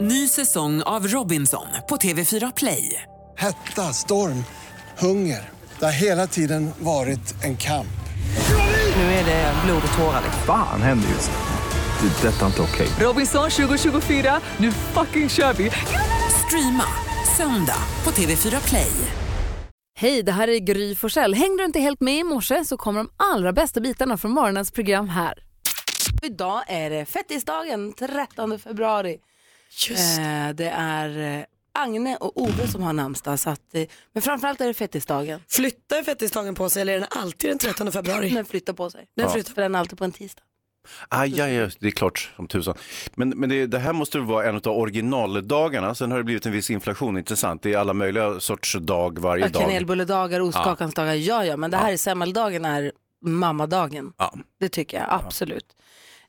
Ny säsong av Robinson på TV4 Play. Hetta, storm, hunger. Det har hela tiden varit en kamp. Nu är det blod och tårar. liksom. Fan händer just nu. Det. är Detta är inte okej. Robinson 2024, nu fucking kör vi! Streama söndag på TV4 Play. Hej, det här är Gry Forssell. Hängde du inte helt med i morse så kommer de allra bästa bitarna från morgonens program här. Idag är det fettisdagen, 13 februari. Eh, det är eh, Agne och Ove som har namnsdag. Så att, eh, men framförallt är det fettisdagen. Flyttar fettisdagen på sig eller är den alltid den 13 februari? Den flyttar på sig. Den flyttar. För den är alltid på en tisdag. Aj, aj, aj, det är klart som tusan. Men, men det, det här måste vara en av originaldagarna. Sen har det blivit en viss inflation, intressant. Det är alla möjliga sorts dag varje Ja, dag. Kanelbulledagar, ostkakans dagar, ja ja. Men det här är semmeldagen är mammadagen. Ja. Det tycker jag absolut.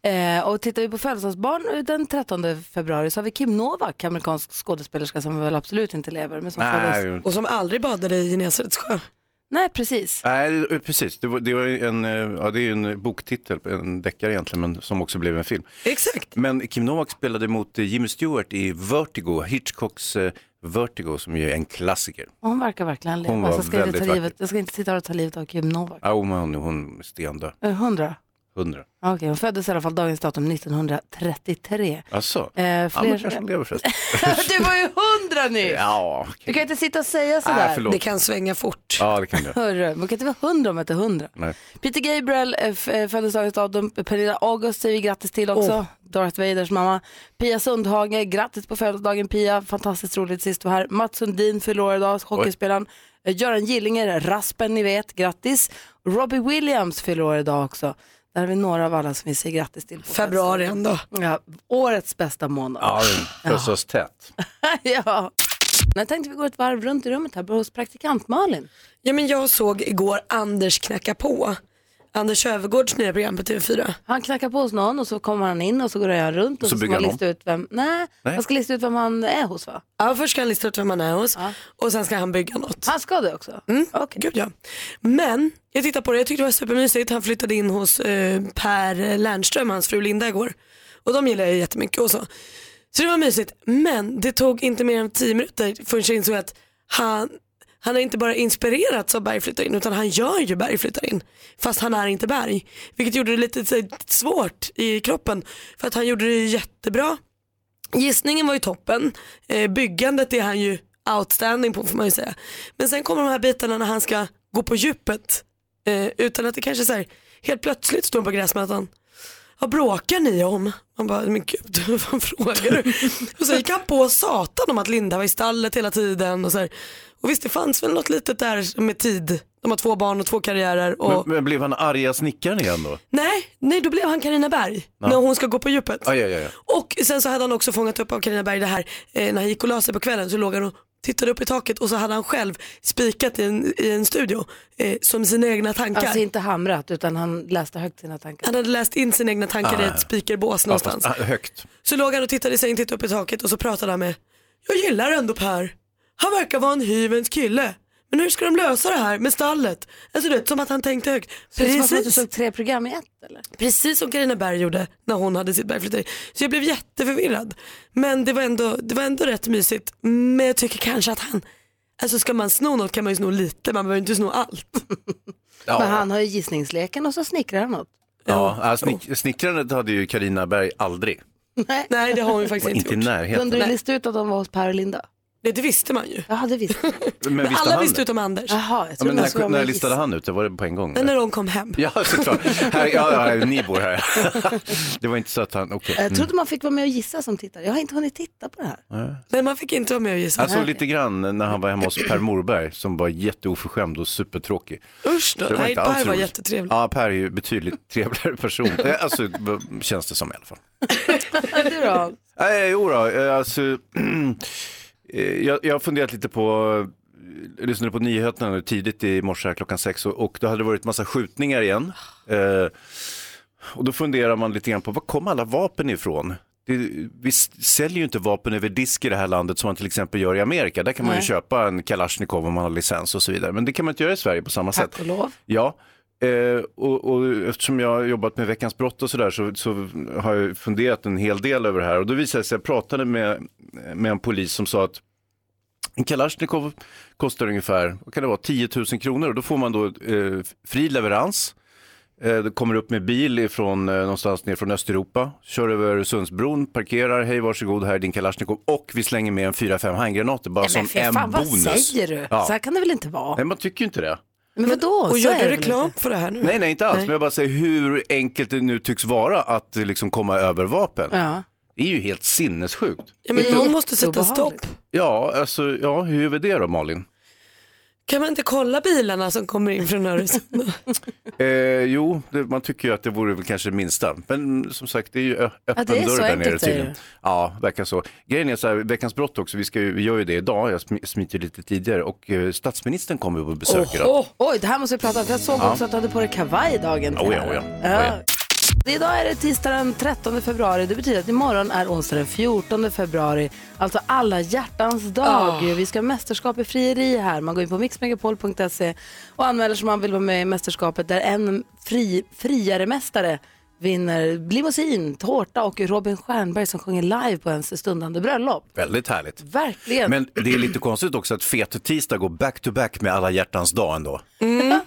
Eh, och tittar vi på födelsedagsbarn eh, den 13 februari så har vi Kim Novak, amerikansk skådespelerska som väl absolut inte lever. Men som föddes. Nej, Och som aldrig badade i Genesarets sjö. Nej, precis. nej, det- eh, precis. Det, var, det, var ju en, eh, ja, det är ju en boktitel, en deckare egentligen, men som också blev en film. Exakt. Men Kim Novak spelade mot eh, Jimmy Stewart i Vertigo, Hitchcocks eh, Vertigo, som ju är en klassiker. Och hon verkar verkligen leva. Hon var Alltså, ska jag, inte väldigt ta livet, vacker. jag ska inte sitta här och ta livet av Kim Novak. Ja, hon, hon är stendöd, Eh, Hundra. hundra. Okej, hon föddes i alla fall dagens datum 1933. Alltså, Eh, ja, men fler... kanske hon lever förresten. du var ju hundra nyss! Ja, Du okej. kan inte sitta och säga sådär. Nej, förlåt. Det kan svänga fort. Ja, det kan jag. Hörru, man kan inte vara hundra om man inte är hundra. Nej. Peter Gabriel eh, f- eh, föddes dagens datum. Pernilla August säger vi grattis till också. Åh. Darth Vaders mamma. Pia Sundhage, grattis på födelsedagen Pia. Fantastiskt roligt sist du var här. Mats Sundin fyller år idag, hockeyspelaren. Eh, Göran Gillinger, Raspen ni vet, grattis. Robbie Williams fyller år idag också. Där har vi några av alla som vi säger grattis till. på Februari ändå. födelsedagen. Ja, årets bästa månad. Ja, den förs tätt. ja. Jag tänkte vi går ett varv runt i rummet här hos praktikant Malin. Ja, men jag såg igår Anders knacka på. Anders Övergårds nya program på TV4. Han knackar på hos någon och så kommer han in och så går han runt och Så så, ska bygger man han lista ut vem, nej, Nej. man ska lista ut vem han är hos va? Ja, först ska han lista ut vem han är hos och sen ska han bygga något. Han ska det också. Mm. Gud, ja. Men jag tittade på det, jag tyckte det var supermysigt. Han flyttade in hos eh, Per Lernström, hans fru Linda igår. Och de gillar jag jättemycket och så. Så det var mysigt. Men det tog inte mer än 10 minuter förrän jag insåg att han, han har inte bara inspirerats av Berg flyttar in utan han gör ju Berg flyttar in. Fast han är inte Berg. Vilket gjorde det lite så här, svårt i kroppen. För att han gjorde det jättebra. Gissningen var ju toppen. Eh, byggandet är han ju outstanding på får man ju säga. Men sen kommer de här bitarna när han ska gå på djupet. Eh, utan att det kanske är så här, helt plötsligt står han på gräsmattan. Vad bråkar ni om? Man bara, men gud vad frågar du? och så gick han på satan om att Linda var i stallet hela tiden. Och, så här. och visst det fanns väl något litet där med tid. De har två barn och två karriärer. Och... Men, men blev han arga snickaren igen då? Nej, nej, då blev han Carina Berg när hon ska gå på djupet. Aj, aj, aj. aj. Och sen så hade han också fångat upp av Carina Berg det här, eh, när han gick och la sig på kvällen så låg han och tittade upp i taket och så hade han själv spikat i en, i en studio eh, som sina egna tankar. Alltså inte hamrat utan han läste högt sina tankar. han hade läst in sina egna tankar i ett spikerbås Ah, Ja, någonstans. fast, ah, högt. Så låg han och tittade i sängen, tittade upp i taket och så pratade han med, jag gillar ändå Per. Han verkar vara en hyvens kille. Men hur ska de lösa det här med stallet? Alltså du vet, som att han tänkte högt. Så det var som att du såg tre program i ett eller? Precis som Carina Berg gjorde när hon hade sitt bergflytteri. Så jag blev jätteförvirrad. Men det var, ändå, det var ändå rätt mysigt. Men jag tycker kanske att han, alltså ska man sno något kan man ju sno lite, man behöver inte sno allt. Men han har ju gissningsleken och så snickrar han något. Ja, ah, snick, snickrandet hade ju Karina Berg aldrig. Nej det har hon ju faktiskt Inte inte i gjort. närheten. Kunde du lista ut att de var hos Per och Linda? Det, det visste man ju. Ja, det visste jag. Men Men visste alla han visste det? utom Anders. Jaha, jag Ja, trodde men man skulle när, vara när med i listade giss- han ut det? Var det på en gång? Men när eller? de kom hem. Ja, såklart. här, ja, ja, ni bor här. det var inte så att han, okej. Jag trodde man fick vara med och gissa som tittare. Jag har inte hunnit titta på det här. Nej man fick inte vara med och gissa. Han såg lite grann när han var hemma hos Per Morberg som var jätteoförskämd och supertråkig. Usch då, Det nej inte Per alls var roligt. jättetrevlig. Ja, Per är ju betydligt trevligare person. Eh, Alltså, b- känns det som i alla fall. Men du då? Nej, jo då, eh, alltså, eh, jag, jag har funderat lite på, jag lyssnade på nyheterna nu tidigt i morse här klockan sex och, och då hade det varit massa skjutningar igen. Eh, och då funderar man lite grann på var kom alla vapen ifrån? Det, vi s- säljer ju inte vapen över disk i det här landet som man till exempel gör i Amerika. Där kan man ju köpa en Kalashnikov om man har licens och så vidare. Men det kan man inte göra i Sverige på samma sätt. Tack och lov. Ja, eh, och, och eftersom jag har jobbat med Veckans brott och sådär så, så har jag funderat en hel del över det här. Och då visade det sig, jag pratade med med en polis som sa att en Kalashnikov kostar ungefär vad kan det vara, 10 000 kronor och då får man då eh, fri leverans. Eh, det kommer upp med bil ifrån, eh, någonstans ner från Östeuropa, kör över Öresundsbron, parkerar, hej varsågod här är din Kalashnikov och vi slänger med en 4-5 handgranater bara Nej, men som fy en fan, bonus. vad säger du? Ja. Så här kan det väl inte vara? Nej, man tycker ju inte det. Men vadå? Och Så gör är du det väl reklam inte? för det här nu? Nej, nej, inte alls. Men jag bara säger hur enkelt det nu tycks vara att eh, liksom komma över vapen. Ja. Det är ju helt sinnessjukt. Ja, men Det är någon måste sätta jätteobehagligt. stopp. Ja, alltså, ja, hur är det då Malin? Kan man inte kolla bilarna som kommer in från Öresund? Eh, jo, det, man tycker ju att det vore väl kanske det minsta. Men som sagt, det är ju ö- öppen det är dörr så där enkelt, nere säger tydligen. Ja, verkar så. Grejen är så här, Veckans brott också, vi, ska ju, vi gör ju det idag, jag sm- smiter lite tidigare och eh, statsministern kommer ju på besök idag. Oho, oj, det här måste vi prata om. för Jag såg också att du hade på dig kavaj dagen till. Oh ja, oh ja. Oh Idag är det tisdag den 13 februari. Det betyder att imorgon är onsdag den 14 februari. Alltså alla hjärtans dag. Vi ska ha mästerskap i frieri här. Man går in på mixmegapol.se och anmäler sig om man vill vara med i mästerskapet där en fri, friare mästare vinner limousin, tårta och Robin Stjernberg som sjunger live på ens stundande bröllop. Väldigt härligt. Verkligen. Men det är lite konstigt också att fet tisdag går back to back med alla hjärtans dag ändå. Men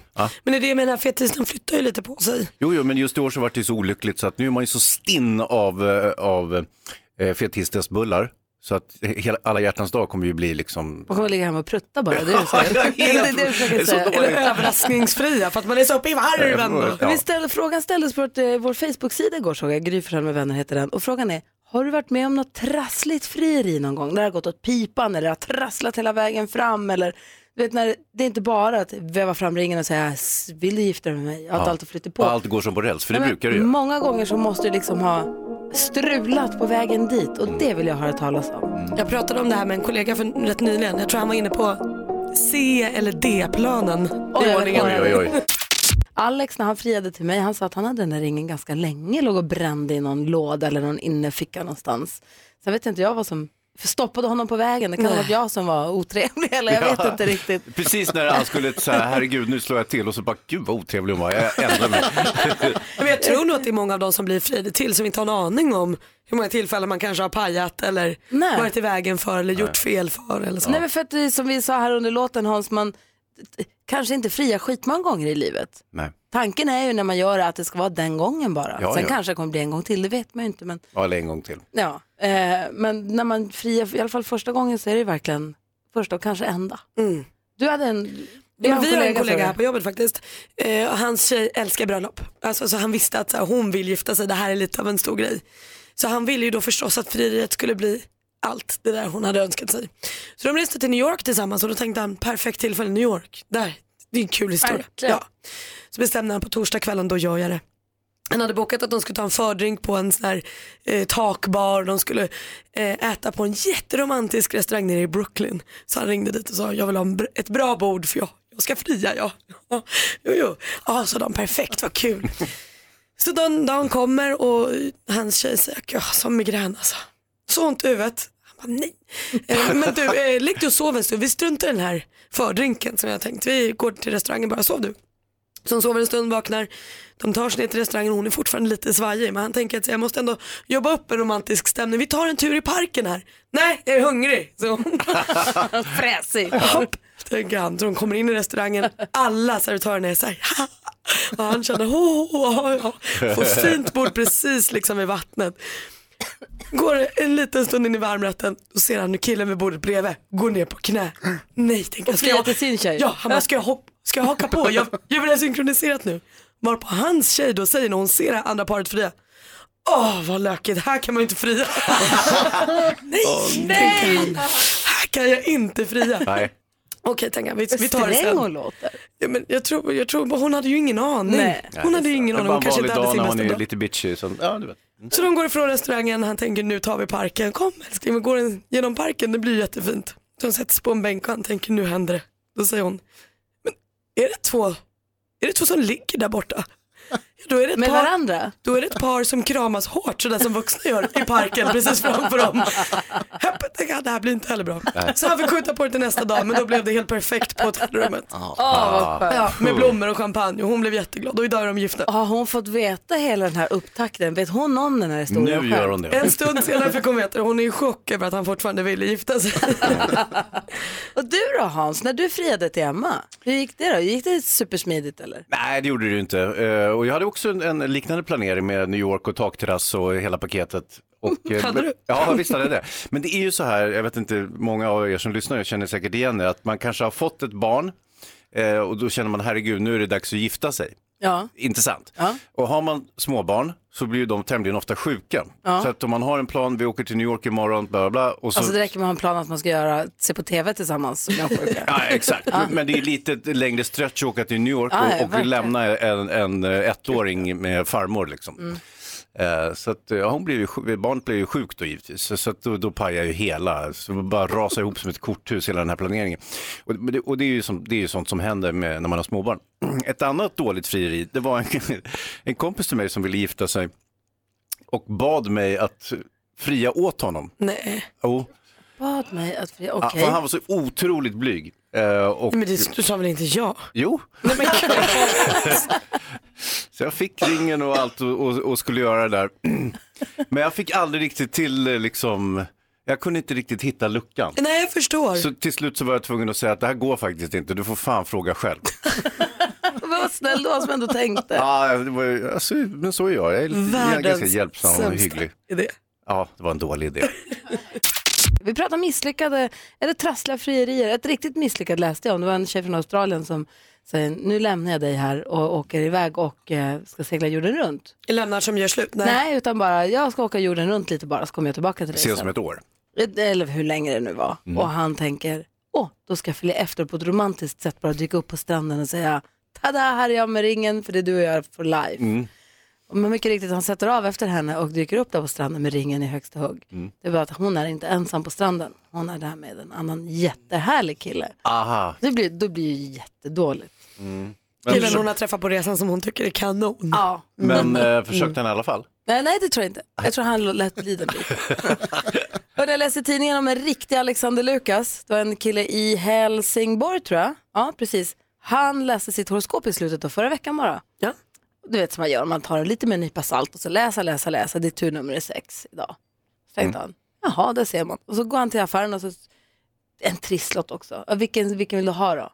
det är det jag menar, fetisen flyttar ju lite på sig. Jo, jo, men just i år så var det ju så olyckligt så att nu är man ju så stinn av, eh, av eh, fetisdagsbullar så att hela, alla hjärtans dag kommer ju bli liksom... Man kommer ligga hemma och prutta bara. Det är det du säger. det är det du försöker Så säga. dåligt. Överraskningsfria för att man är så uppe i varven. då. Men Ja. vi ställde, frågan ställdes på vårt, eh, vår Facebook-sida igår såg jag, Gry Forssell med vänner heter den. Och frågan är, har du varit med om något trassligt frieri någon gång? När det har gått åt pipan eller har trasslat hela vägen fram eller du vet när det är inte bara att väva fram ringen och säga "S- vill du gifta dig med mig? Att allt har flyttat på. Och allt går som på räls, för det Nej, men brukar det ju. Många gånger så måste du liksom ha strulat på vägen dit Mm. och det vill jag höra talas om. Jag pratade om det här med en kollega för rätt nyligen. Jag tror han var inne på C eller D-planen. Oj, I oj, ordningen. oj. Oj, oj. Alex när han friade till mig, han sa att han hade den där ringen ganska länge, låg och brände i någon låda eller någon innerficka någonstans. Sen vet inte jag vad som stoppade honom på vägen, det kan ha varit jag som var otrevlig eller jag vet inte riktigt. Precis när han skulle säga herregud nu slår jag till och så bara gud vad otrevlig hon var, jag ändrar mig. Men jag tror nog att det är många av de som blir friade till som inte har en aning om hur många tillfällen man kanske har pajat eller Nej. varit i vägen för eller gjort fel för. Eller så. Nej men för att det är som vi sa här under låten Hans, man t- kanske inte fria skitmånga gånger i livet. Nej, Tanken är ju när man gör det att det ska vara den gången bara. Ja, Sen ja. kanske det kommer bli en gång till, det vet man ju inte. Men, ja, eller en gång till. ja. eh, men när man friar, i alla fall första gången så är det ju verkligen första och kanske enda. Mm. Du hade en... du Men vi har en sa du. kollega här på jobbet faktiskt. Eh, och hans tjej älskar bröllop. Alltså, så han visste att så här, hon vill gifta sig, det här är lite av en stor grej. Så han ville ju då förstås att frieriet skulle bli allt det där hon hade önskat sig. Så de reste till New York tillsammans och då tänkte han perfekt tillfälle New York, där, det är en kul historia. Verkligen. Ja. Så bestämde han på torsdagskvällen, då gör jag det. Han hade bokat att de skulle ta en fördrink på en sån här eh, takbar. De skulle eh, äta på en jätteromantisk restaurang nere i Brooklyn. Så han ringde dit och sa jag vill ha en br- ett bra bord för jag, jag ska fria jag. Ja, jo, jo. Ja, sa de, perfekt, vad kul. Så dagen, dagen kommer och hans tjej säger jag har sån migrän alltså. Så ont i huvudet. Han bara nej. Eh, Men du, eh, lägg dig och sov en stund. Vi struntar i den här fördrinken som jag tänkt. Vi går till restaurangen bara, sov du. Så hon sover en stund, vaknar. De tar sig ner till restaurangen och hon är fortfarande lite svajig. Men han tänker att jag måste ändå jobba upp en romantisk stämning. Vi tar en tur i parken här. Nej, jag är hungrig. Så hon Fräsig. Hopp, tänker han. Så de kommer in i restaurangen, alla servitörerna är så här, "Ha!" och han känner, oh, oh, oh, oh. får fint bord precis liksom vid vattnet. Går en liten stund in i varmrätten, då ser han hur killen vid bordet bredvid går ner på knä. Nej, tänker han. Ska friar jag, till sin tjej. Ja, han bara, ska jag, hopp, ska jag haka på? Jag, jag vill ha synkroniserat nu. Varpå hans tjej då säger när hon ser det här andra paret fria, Åh vad lökigt, här kan man ju inte fria. nej, tänker han. Här kan jag inte fria. Nej. Okej, tänker jag. Vi, vi tar det Sträng sen. hon låter. Ja, men jag tror, jag tror, hon hade ju ingen aning. Nej. Hon hade ju ingen Det är aning. bara Hon en kanske vanlig inte hade dag sin när man bästa är dag. lite bitchy. Så, ja, du vet. Så de går ifrån restaurangen. Han tänker nu tar vi parken. Kom älskling, vi går en, genom parken. Det blir jättefint. Så de sätter sig på en bänk och han tänker nu händer det. Då säger hon, men är det två, är det två som ligger där borta? Ja, Då är det ett Med par, varandra? Då är det ett par som kramas hårt sådär som vuxna gör i parken precis framför dem. Hepp, att "Ah, det här blir inte heller bra. Så han fick skjuta på det till nästa dag men då blev det helt perfekt på hotellrummet. Ah, Ja, med blommor och champagne och hon blev jätteglad och idag är de gifta. Har hon fått veta hela den här upptakten? Vet hon om den här historien Nu själv? gör hon det. En stund senare fick hon veta det. Hon är i chock över att han fortfarande ville gifta sig. Och du då Hans, när du friade till Emma, hur gick det då? Gick det supersmidigt eller? Nej, det gjorde det ju inte. Eh, Och jag hade också en, en liknande planering med New York och takterrass och hela paketet. Och, eh, Hade du? Ja, visst hade jag det. Men det är ju så här, jag vet inte, många av er som lyssnar känner säkert igen det, att man kanske har fått ett barn eh, och då känner man herregud, nu är det dags att gifta sig. Ja. Intressant. Ja. Och har man småbarn så blir ju de tämligen ofta sjuka. Så att om man har en plan, vi åker till New York imorgon, bla bla bla. Och så... Alltså det räcker med att ha en plan att man ska göra, se på TV tillsammans med de sjuka. Ja, exakt. Men det är lite längre stretch att åka till New York Ja, ja, och, och verkligen. lämna en, en eh, ettåring med farmor. Liksom. Eh, Så att, ja, hon blev ju, sjuk- barnet blev ju sjukt då givetvis, så, så att då, då pajar ju hela, så det bara rasar ihop som ett korthus hela den här planeringen. Och, men det, och det, är ju som, det är ju sånt som händer med, när man har småbarn. Ett annat dåligt frieri, det var en, en kompis till mig som ville gifta sig och bad mig att fria åt honom. Nej, Jo, Bad mig att fria, ja, okej. för han var så otroligt blyg. Eh, Och, men det, du sa väl inte ja? Jo. så jag fick ringen och allt och, och, och skulle göra det där. Men jag fick aldrig riktigt till eh, liksom, jag kunde inte riktigt hitta luckan. Nej jag förstår. Så till slut så var jag tvungen att säga att det här går faktiskt inte, du får fan fråga själv. Vad snäll du var som ändå tänkte. ja, det var, ju- alltså, men så är jag, jag är, lite- jag är ganska hjälpsam och hygglig. idé. Ja, det var en dålig idé. Vi pratar misslyckade, eller trassliga frierier. Ett riktigt misslyckat läste jag om. Det var en tjej från Australien som säger, nu lämnar jag dig här och åker iväg och eh, ska segla jorden runt. Lämnar som gör slut? Nej. Nej. utan bara, jag ska åka jorden runt lite bara så kommer jag tillbaka till dig Ses sen. om ett år. eller hur länge det nu var. Och han tänker, åh, då ska jag följa efter på ett romantiskt sätt, bara dyka upp på stranden och säga, tada, här är jag med ringen, för det är du och jag for life. Och Men mycket riktigt, han sätter av efter henne och dyker upp där på stranden med ringen i högsta hugg. Det är bara att hon är inte ensam på stranden, hon är där med en annan jättehärlig kille. Ah. Aha. Det blir, då blir det ju jättedåligt. Killen hon har träffat på resan som hon tycker är kanon. Ja. Men eh, mm. försökte han i alla fall. Nej, nej, det tror jag inte. Jag tror han lät bli den biten. Hörde, jag läste i tidningen om en riktig Alexander Lukas. Det var en kille i Helsingborg tror jag. Ja, precis. Han läste sitt horoskop i slutet av förra veckan bara. Ja. Du vet som man gör, man tar det lite med en nypa salt och så läsa, läsa, läsa. Det är tur nummer sex idag. Så tänkte han, jaha, där ser man. Och så går han till affären och så, en trisslott också. Ja, vilken, vilken vill du ha då?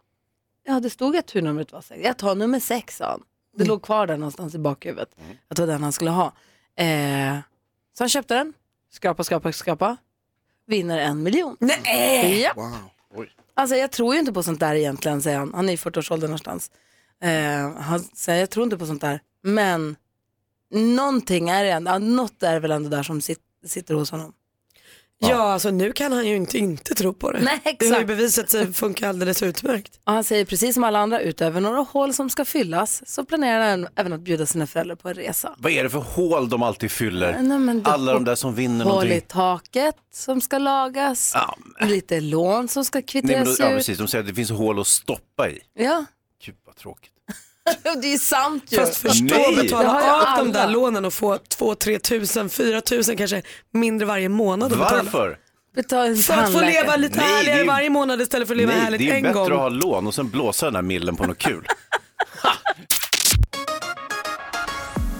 Ja, det stod att turnumret var sex. Jag tar nummer sex, sa han. Det låg kvar där någonstans i bakhuvudet. Att det var den han skulle ha. Eh, så han köpte den. Skrapa, skrapa, skrapa. Vinner en miljon. Nej! Ja. Alltså jag tror ju inte på sånt där egentligen, säger han. Han är i 40-årsåldern någonstans. Eh, han säger, jag tror inte på sånt där. Men någonting är det ändå. Något är väl ändå där som sit, sitter hos honom. Ja alltså nu kan han ju inte inte tro på det. Nej, Det har ju exakt. bevisat sig funka alldeles utmärkt. Mm. Och han säger precis som alla andra, utöver några hål som ska fyllas så planerar han även att bjuda sina föräldrar på en resa. Vad är det för hål de alltid fyller? Nej, men det- Alla de där som vinner Hål i någonting. taket som ska lagas, Ja, lite lån som ska Nej, men då, kvitteras ja, ut. precis. De säger att det finns hål att stoppa i. Ja, Gud vad tråkigt. det är ju sant ju. Fast förstå Nej. att Det har ju betala av de där alla. lånen och få 2 3 tusen, 4 tusen kanske mindre varje månad att betala. Varför? Betala en För att få tandläkare. leva lite Nej, det är härligare ju- varje månad istället för att leva Nej, härligt det är ju en bättre gång. att ha lån och sen blåsa den här millen på något kul.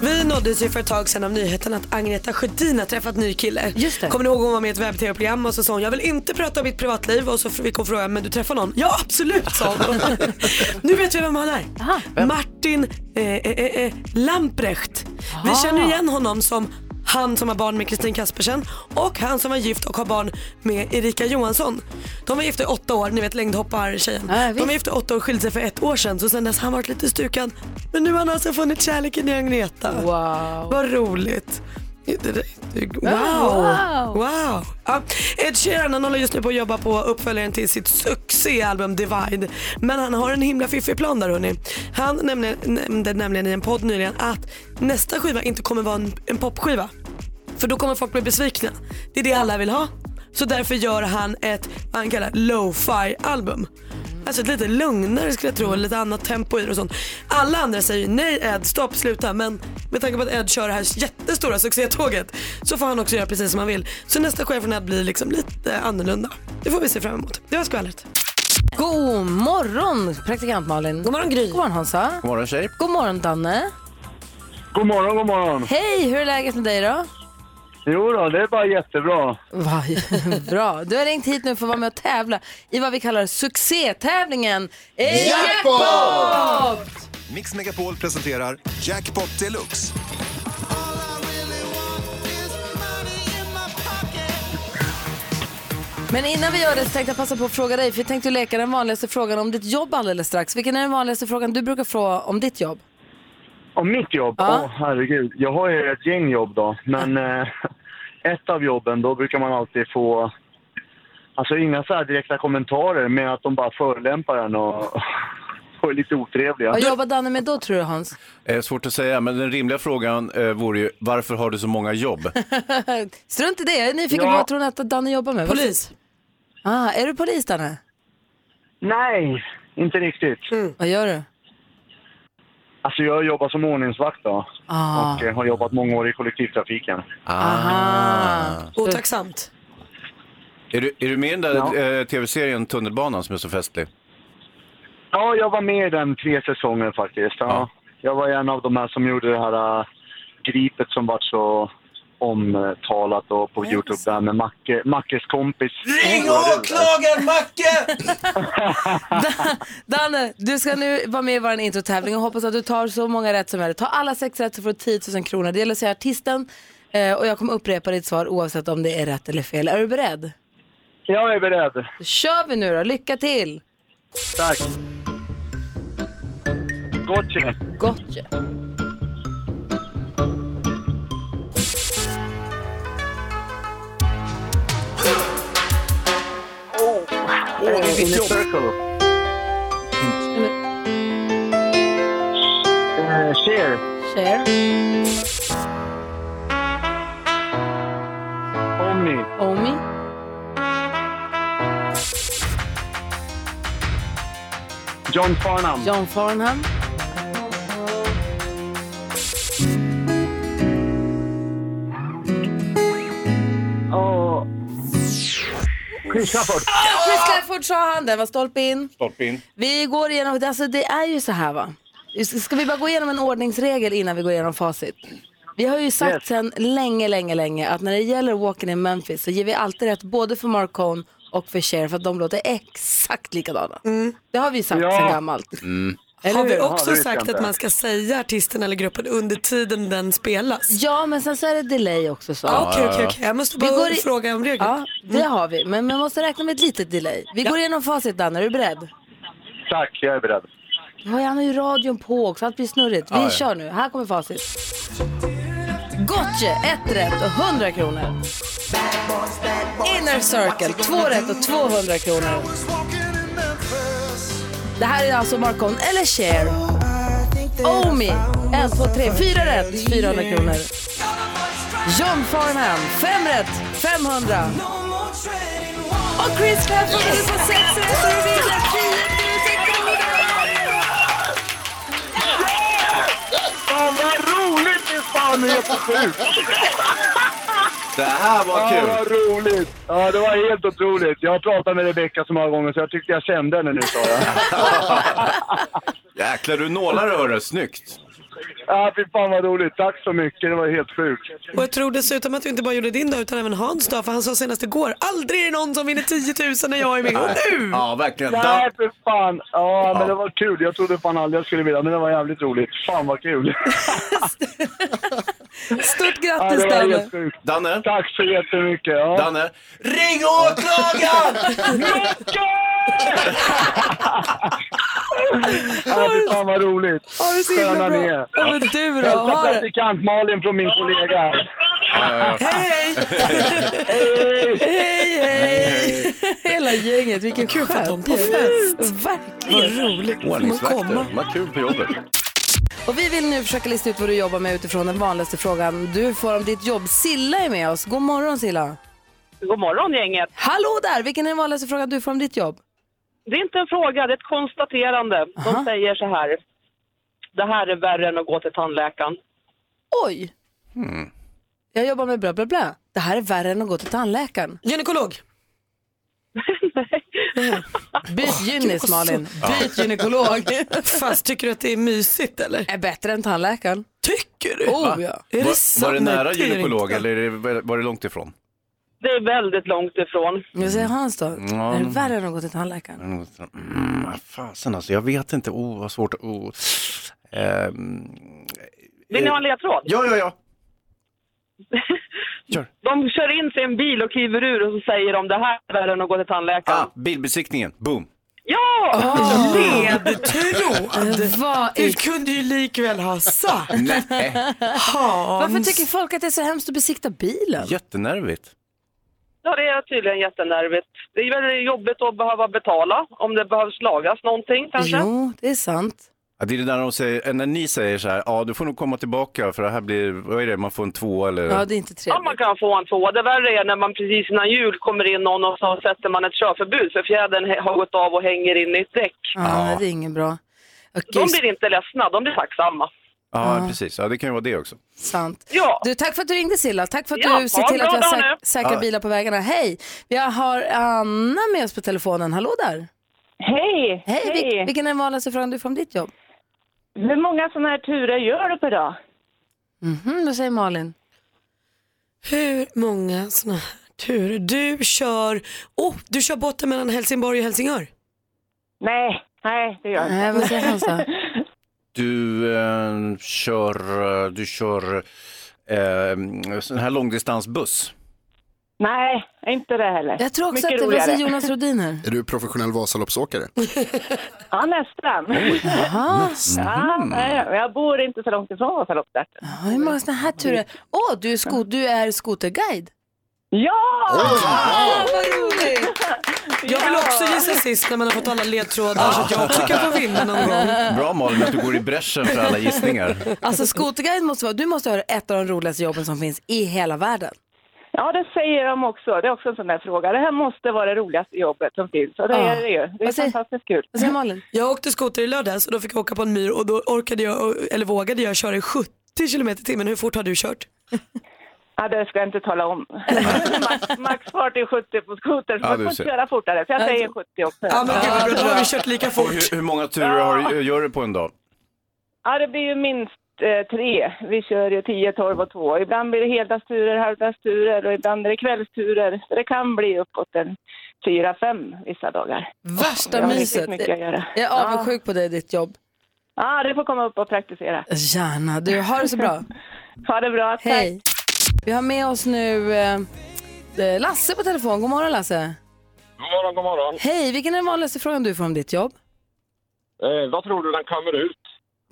Vi nåddes ju för ett tag sedan av nyheten att Agneta Sjödin har träffat ny kille. Just det. Kommer ni ihåg hon var med i ett webb-tv-program och så sa hon jag vill inte prata om mitt privatliv och så fick hon frågan men du träffar någon? Ja absolut sa hon. nu vet vi vem han är. Martin eh, eh, eh, eh, Lamprecht. Vi känner igen honom som han som har barn med Kristin Kaspersen och han som var gift och har barn med Erika Johansson. De var gifta i åtta år, ni vet längdhoppar-tjejen. Ja, De visst. var gifta i åtta år och skilde sig för ett år sedan så sen dess har han varit lite stukad. Men nu har han alltså funnit kärleken i Agneta. Wow. Ah, Vad roligt. Det- det- det- Wow! Wow. wow. Ja, Ed Sheeran han håller just nu på att jobba på uppföljaren till sitt succéalbum Divide. Men han har en himla fiffig plan där hörni. Han nämnde, nämnde nämligen i en podd nyligen att nästa skiva inte kommer vara en, en popskiva. För då kommer folk bli besvikna. Det är det alla vill ha. Så därför gör han ett, vad han kallar, lo-fi album. Alltså ett lite lugnare skulle jag tro, och lite annat tempo i det och sånt. Alla andra säger ju, nej Ed, stopp, sluta. Men med tanke på att Ed kör det här jättestora succétåget så får han också göra precis som han vill. Så nästa chef från Ed blir liksom lite annorlunda. Det får vi se fram emot. Det var skvallret. God morgon praktikant Malin. God morgon Gry. God morgon Hansa. God morgon tjejer. God morgon Danne. God morgon, god morgon. Hej, hur är läget med dig då? Jo då, det är bara jättebra. Va, bra. Du har ringt hit nu för att vara med och tävla i vad vi kallar succétävlingen Jackpot! Mix Megapol presenterar Jackpot Deluxe. Men innan vi gör det så tänkte jag passa på att fråga dig, för jag tänkte leka den vanligaste frågan om ditt jobb alldeles strax. Vilken är den vanligaste frågan du brukar fråga om ditt jobb? Om mitt jobb? Åh, Ja. herregud. Jag har ju ett gäng jobb då, men eh, ett av jobben, då brukar man alltid få... Alltså inga så här direkta kommentarer, men att de bara förolämpar en och, och är lite otrevliga. Vad jobbar Danne med då tror du Hans? Eh, svårt att säga, men den rimliga frågan eh, vore ju varför har du så många jobb? Strunt i det, jag är nyfiken på Ja. vad tror ni att Danne jobbar med? Polis. Ah, är du polis Danne? Nej, inte riktigt. Vad gör du? Alltså jag jobbar som ordningsvakt då, Ah, och eh, har jobbat många år i kollektivtrafiken. aha. Otacksamt. Är du, är du med i den där Ja. eh, tv-serien Tunnelbanan som är så festlig? Ja, jag var med i den tre säsonger faktiskt. Ja. Ja. Jag var en av de här som gjorde det här äh, gripet som var så omtalat då på Youtube, det här med Macke, Mackes kompis. Ring åklagaren! Danne, du ska nu vara med i vår introtävling och hoppas att du tar så många rätt som möjligt. Ta alla sex rätt så får du 10 000 kronor. Det gäller att säga artisten eh, och jag kommer upprepa ditt svar oavsett om det är rätt eller fel. Är du beredd? Jag är beredd. Då kör vi nu då, lycka till! Tack. Gotcha. Gotcha. In a circle. Eh, Cher. Cher, Omni. Omi, John Farnham. John Farnham, Och... Chris Stafford. Chris Clafford sa han, den var stolpe in. Stolpe in. Vi går igenom, alltså det är ju så här va. Ska vi bara gå igenom en ordningsregel innan vi går igenom facit? Vi har ju sagt Yes. sedan länge, länge, länge att när det gäller Walking in Memphis så ger vi alltid rätt både för Marcone och för Cher för att de låter exakt likadana. Det har vi sagt Ja. sedan gammalt. Mm. Har vi hur? Ja, också det vet jag sagt inte. att man ska säga artisten eller gruppen under tiden den spelas? Ja, men sen så är det delay också så. Ja, Okej, okej, okej. Jag måste Vi går bara i- fråga om Mm. regler. Ja, det har vi, men man måste räkna med ett litet delay. Vi går igenom facit, Dan. Är du beredd? Tack, jag är beredd. Ja, han har ju radion på också, allt blir snurrigt. Vi Ja, ja. kör nu, här kommer facit. Gotche, ett rätt och 100 kronor. Inner Circle, två rätt och 200 kronor. Det här är alltså Marcon eller Cher. Omi, en, två, tre, fyra rätt, 400 kronor. John Farnham, fem rätt, 500. Och Chris Clafford, du får sex rätt så du vinner 10 000 kronor! Fan vad roligt det är fan är på sjukt! Det här var Ja, kul! vad roligt! Ja, det var helt otroligt. Jag har pratat med Rebecka så många gånger så jag tyckte jag kände henne nu, sa jag. Jäklar du nålar hörru, snyggt! Ja, fy fan vad roligt. Tack så mycket, det var helt sjukt. Och jag tror dessutom att du inte bara gjorde din dag utan även Hans dag för han sa senast igår, aldrig är det någon som vinner 10 000 när jag är med. Och nu! Ja, verkligen. Nej, Dan- för fan! Ja, men det var kul. Jag trodde fan aldrig jag skulle vilja, men det var jävligt roligt. Fan vad kul! Stort Ja, grattis det var Danne! helt sjukt. Danne? Tack så jättemycket! Ja. Danne? Ring åklagaren! Ja, fy fan vad roligt! Ha det så himla Sköna ni bra! är. Ja, men du då? Hälsa Ha det. praktikant Malin från min kollega. Hej! Hej, hej! Hela gänget, vilken Kul för de på fest. Verkligen roligt. Ordningsvakter, de har kul på jobbet. Och vi vill nu försöka lista ut vad du jobbar med utifrån den vanligaste frågan du får om ditt jobb. Silla är med oss. God morgon Silla! God morgon gänget. Hallå där! Vilken är den vanligaste frågan du får om ditt jobb? det är inte en fråga, det är ett konstaterande. De säger så här. Det här är värre än att gå till tandläkaren. Oj! Jag jobbar med bla bla bla. Det här är värre än att gå till tandläkaren. Gynekolog. Byt gynis gud, vad Malin. så- Byt gynekolog. Fast tycker du att det är mysigt eller? är bättre än tandläkaren. Tycker du? Oh, Va? ja. Är det Var, sant? var det nära Nej, är gynekolog inte. eller är det, var det långt ifrån? Det är väldigt långt ifrån. Jag säger Hans då. Är det värre än att gå till tandläkaren? Mm, vad fasen alltså, jag vet inte. Oh, vad svårt. Oh. Ehm, Vill ni eh, ha en ledtråd? Ja, ja, ja. De kör in sig i en bil och kliver ur och så säger de det här är värre än att gå till tandläkaren. Ah, bilbesiktningen. Boom. Ja! Ledtråd. Vad Du är... kunde ju likväl ha sagt. Nej. Hans. Varför tycker folk att det är så hemskt att besikta bilen? Jättenervigt. Ja, det är tydligen jättenervigt. Det är väldigt jobbigt att behöva betala om det behövs lagas någonting kanske. Jo, det är sant. Ja, det är det där de säger, eh, när ni säger så här, ja du får nog komma tillbaka för det här blir, vad är det, man får en två eller? Ja, det är inte Ja, trevligt. man kan få en tvåa. Det värre är när man precis innan jul kommer in någon och så sätter man ett körförbud för fjädern hä- har gått av och hänger in i ett däck. Ja, det är inget bra. Och De gud, blir inte ledsna, de blir tacksamma. Ja, precis, ja det kan ju vara det också. sant. Ja. Du, tack för att du ringde Silla. Tack för att Ja, du ser ha till en att vi bra har dag säk- säkra bilar på vägarna. Hej! Vi har Anna med oss på telefonen. Hallå där! Hej! Hej! Vil- vilken är den vanligaste frågan du får om ditt jobb? Hur många sådana här turer gör du per dag? Mhm, vad säger Malin? Hur många sådana här turer? Du kör, oh, du kör båten mellan Helsingborg och Helsingör. Nej, nej det gör Nej, Eh, vad säger Hans då? Du eh, kör, eh, du kör eh, sån här långdistansbuss. Nej, inte det heller. Jag tror också att det var vad säger Jonas Rodin här. Är du professionell Vasaloppsåkare? Ja, nästan. Jaha, Ja, nej, jag bor inte så långt ifrån Vasaloppet. ja, hur många sådana här turer? Åh, du, är sko- du är skoterguide. Ja! Ah, vad roligt! Jag vill också gissa sist när man har fått alla ledtrådar så att jag också kan få vinna någon gång. Bra Malin att du går i bräschen för alla gissningar. Alltså skoterguide måste vara, du måste ha ett av de roligaste jobben som finns i hela världen. Ja, det säger de också. Det är också en sån där fråga. Det här måste vara det roligaste jobbet som finns. Och det Ja. är det ju. Det är Vad säger- fantastiskt kul. Vad säger Malin? Jag åkte skoter i lördags och då fick jag åka på en myr och då orkade jag, eller vågade jag köra i 70 km i timmen. Hur fort har du kört? Ja, det ska jag inte tala om. Max- Maxfart är 70 på skoter, så Ja, man du får inte ser. köra fortare. Så jag säger 70 också. Ja men gud vad bra, då har vi kört lika Och fort. hur, hur många turer har, du- gör du på en dag? Ja, det blir ju minst eh, tre. Vi kör ju 10, 12 och 2. Ibland blir det heldagsturer, halvdagsturer och ibland är det kvällsturer. Så det kan bli uppåt en fyra, fem vissa dagar. Jag Värsta har myset. riktigt mycket att göra. Jag är avundsjuk på dig och ditt jobb. Ja, du får komma upp och praktisera. Gärna. Du, har det så bra. Ha det bra. Tack. Hej. Vi har med oss nu eh, eh, Lasse på telefon. God morgon Lasse. God morgon, god morgon. Hej, vilken är den vanligaste frågan du får om ditt jobb? Eh, vad tror du den kommer ut?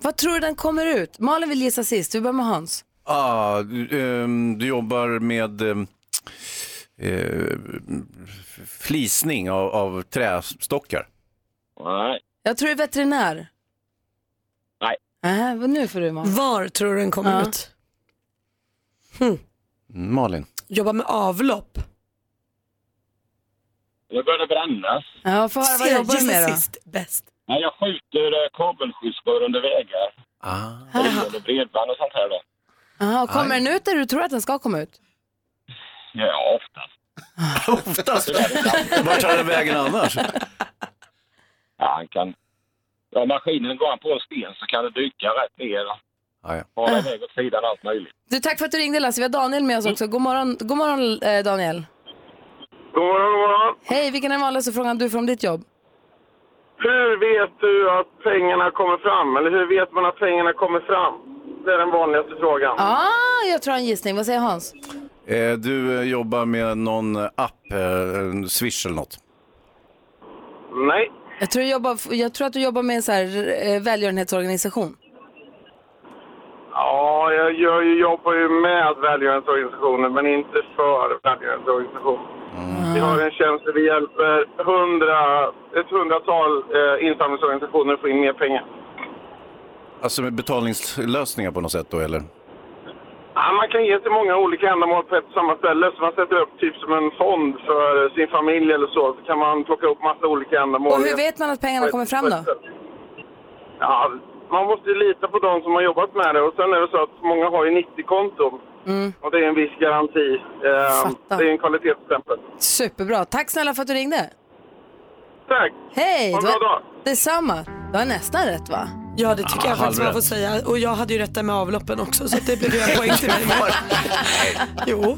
Vad tror du den kommer ut? Malin vill gissa sist, vi börjar med Hans. Ah, du, ehm, du jobbar med ehm, eh, flisning av, av trästockar. Nej. Jag tror du är veterinär. Nej. Nej, vad nu får du Malin. Var tror du den kommer Ja. ut? Mm, Malin. Jobba med avlopp. Nu börjar det brännas. Ja, får höra vad jobbar du med då? sist bäst. Nej, jag skjuter eh, kabelskyddsrör under vägar. Ah. Eller bredband och sånt här då. Aha, kommer den ut där du tror att den ska komma ut? Ja, oftast. Oftast. Vart tar den vägen annars? Ja, han kan... Ja, maskinen går han på en sten så kan det dyka rätt ner och Ah, ja. fara iväg åt sidan allt möjligt. Du, tack för att du ringde Lasse. Vi har Daniel med oss också. God morgon, god morgon eh, Daniel. God morgon, god morgon. Hej, vilken är den vanligaste frågan du får om ditt jobb? Hur vet du att pengarna kommer fram? Eller hur vet man att pengarna kommer fram? Det är den vanligaste frågan. Ah, jag tror en gissning. Vad säger Hans? Eh, du eh, jobbar med någon app, eh, en Swish eller något. Nej. Jag tror, du jobbar, jag tror att du jobbar med en så här, eh, välgörenhetsorganisation. Ja, jag gör ju, jobbar ju med välgörenhetsorganisationer, men inte för välgörenhetsorganisationer. Vi har en tjänst där vi hjälper hundra, ett hundratal eh, insamlingsorganisationer att få in mer pengar. Alltså med betalningslösningar på något sätt då eller? Ja, man kan ge till många olika ändamål på ett och samma ställe. Så man sätter upp typ som en fond för sin familj eller så. Så kan man plocka upp massa olika ändamål. Och hur vet man att pengarna kommer fram då? Ja, man måste ju lita på de som har jobbat med det. Och sen är det så att många har ju 90 konton. Mm. Och det är en viss garanti. Eh, Fattar. det är en kvalitetsstämpel. Superbra. Tack snälla för att du ringde. Tack. Hej! Ha en det var- bra dag. Detsamma. Du har nästan rätt va? Ja det tycker Ah, jag faktiskt man halvrätt. får säga. Och jag hade ju rätt där med avloppen också så att det blev ju en poäng till mig. Jo.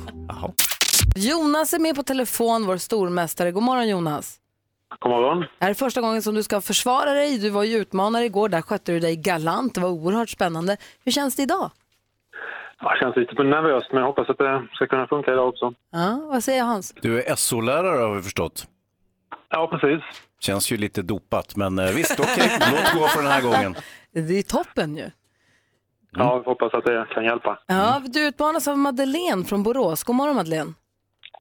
Jonas är med på telefon, vår stormästare. God morgon Jonas. God morgon. Det här är första gången som du ska försvara dig. Du var ju utmanare igår, där skötte du dig galant. Det var oerhört spännande. Hur känns det idag? Jag känns lite nervöst, men jag hoppas att det ska kunna funka idag också. Ja, vad säger Hans? Du är SO-lärare har vi förstått. Ja, precis. Känns ju lite dopat, men eh, visst, okej, låt gå för den här gången. Det är toppen ju. Ja, jag hoppas att det kan hjälpa. Ja, du utmanas av Madeleine från Borås. God morgon Madeleine.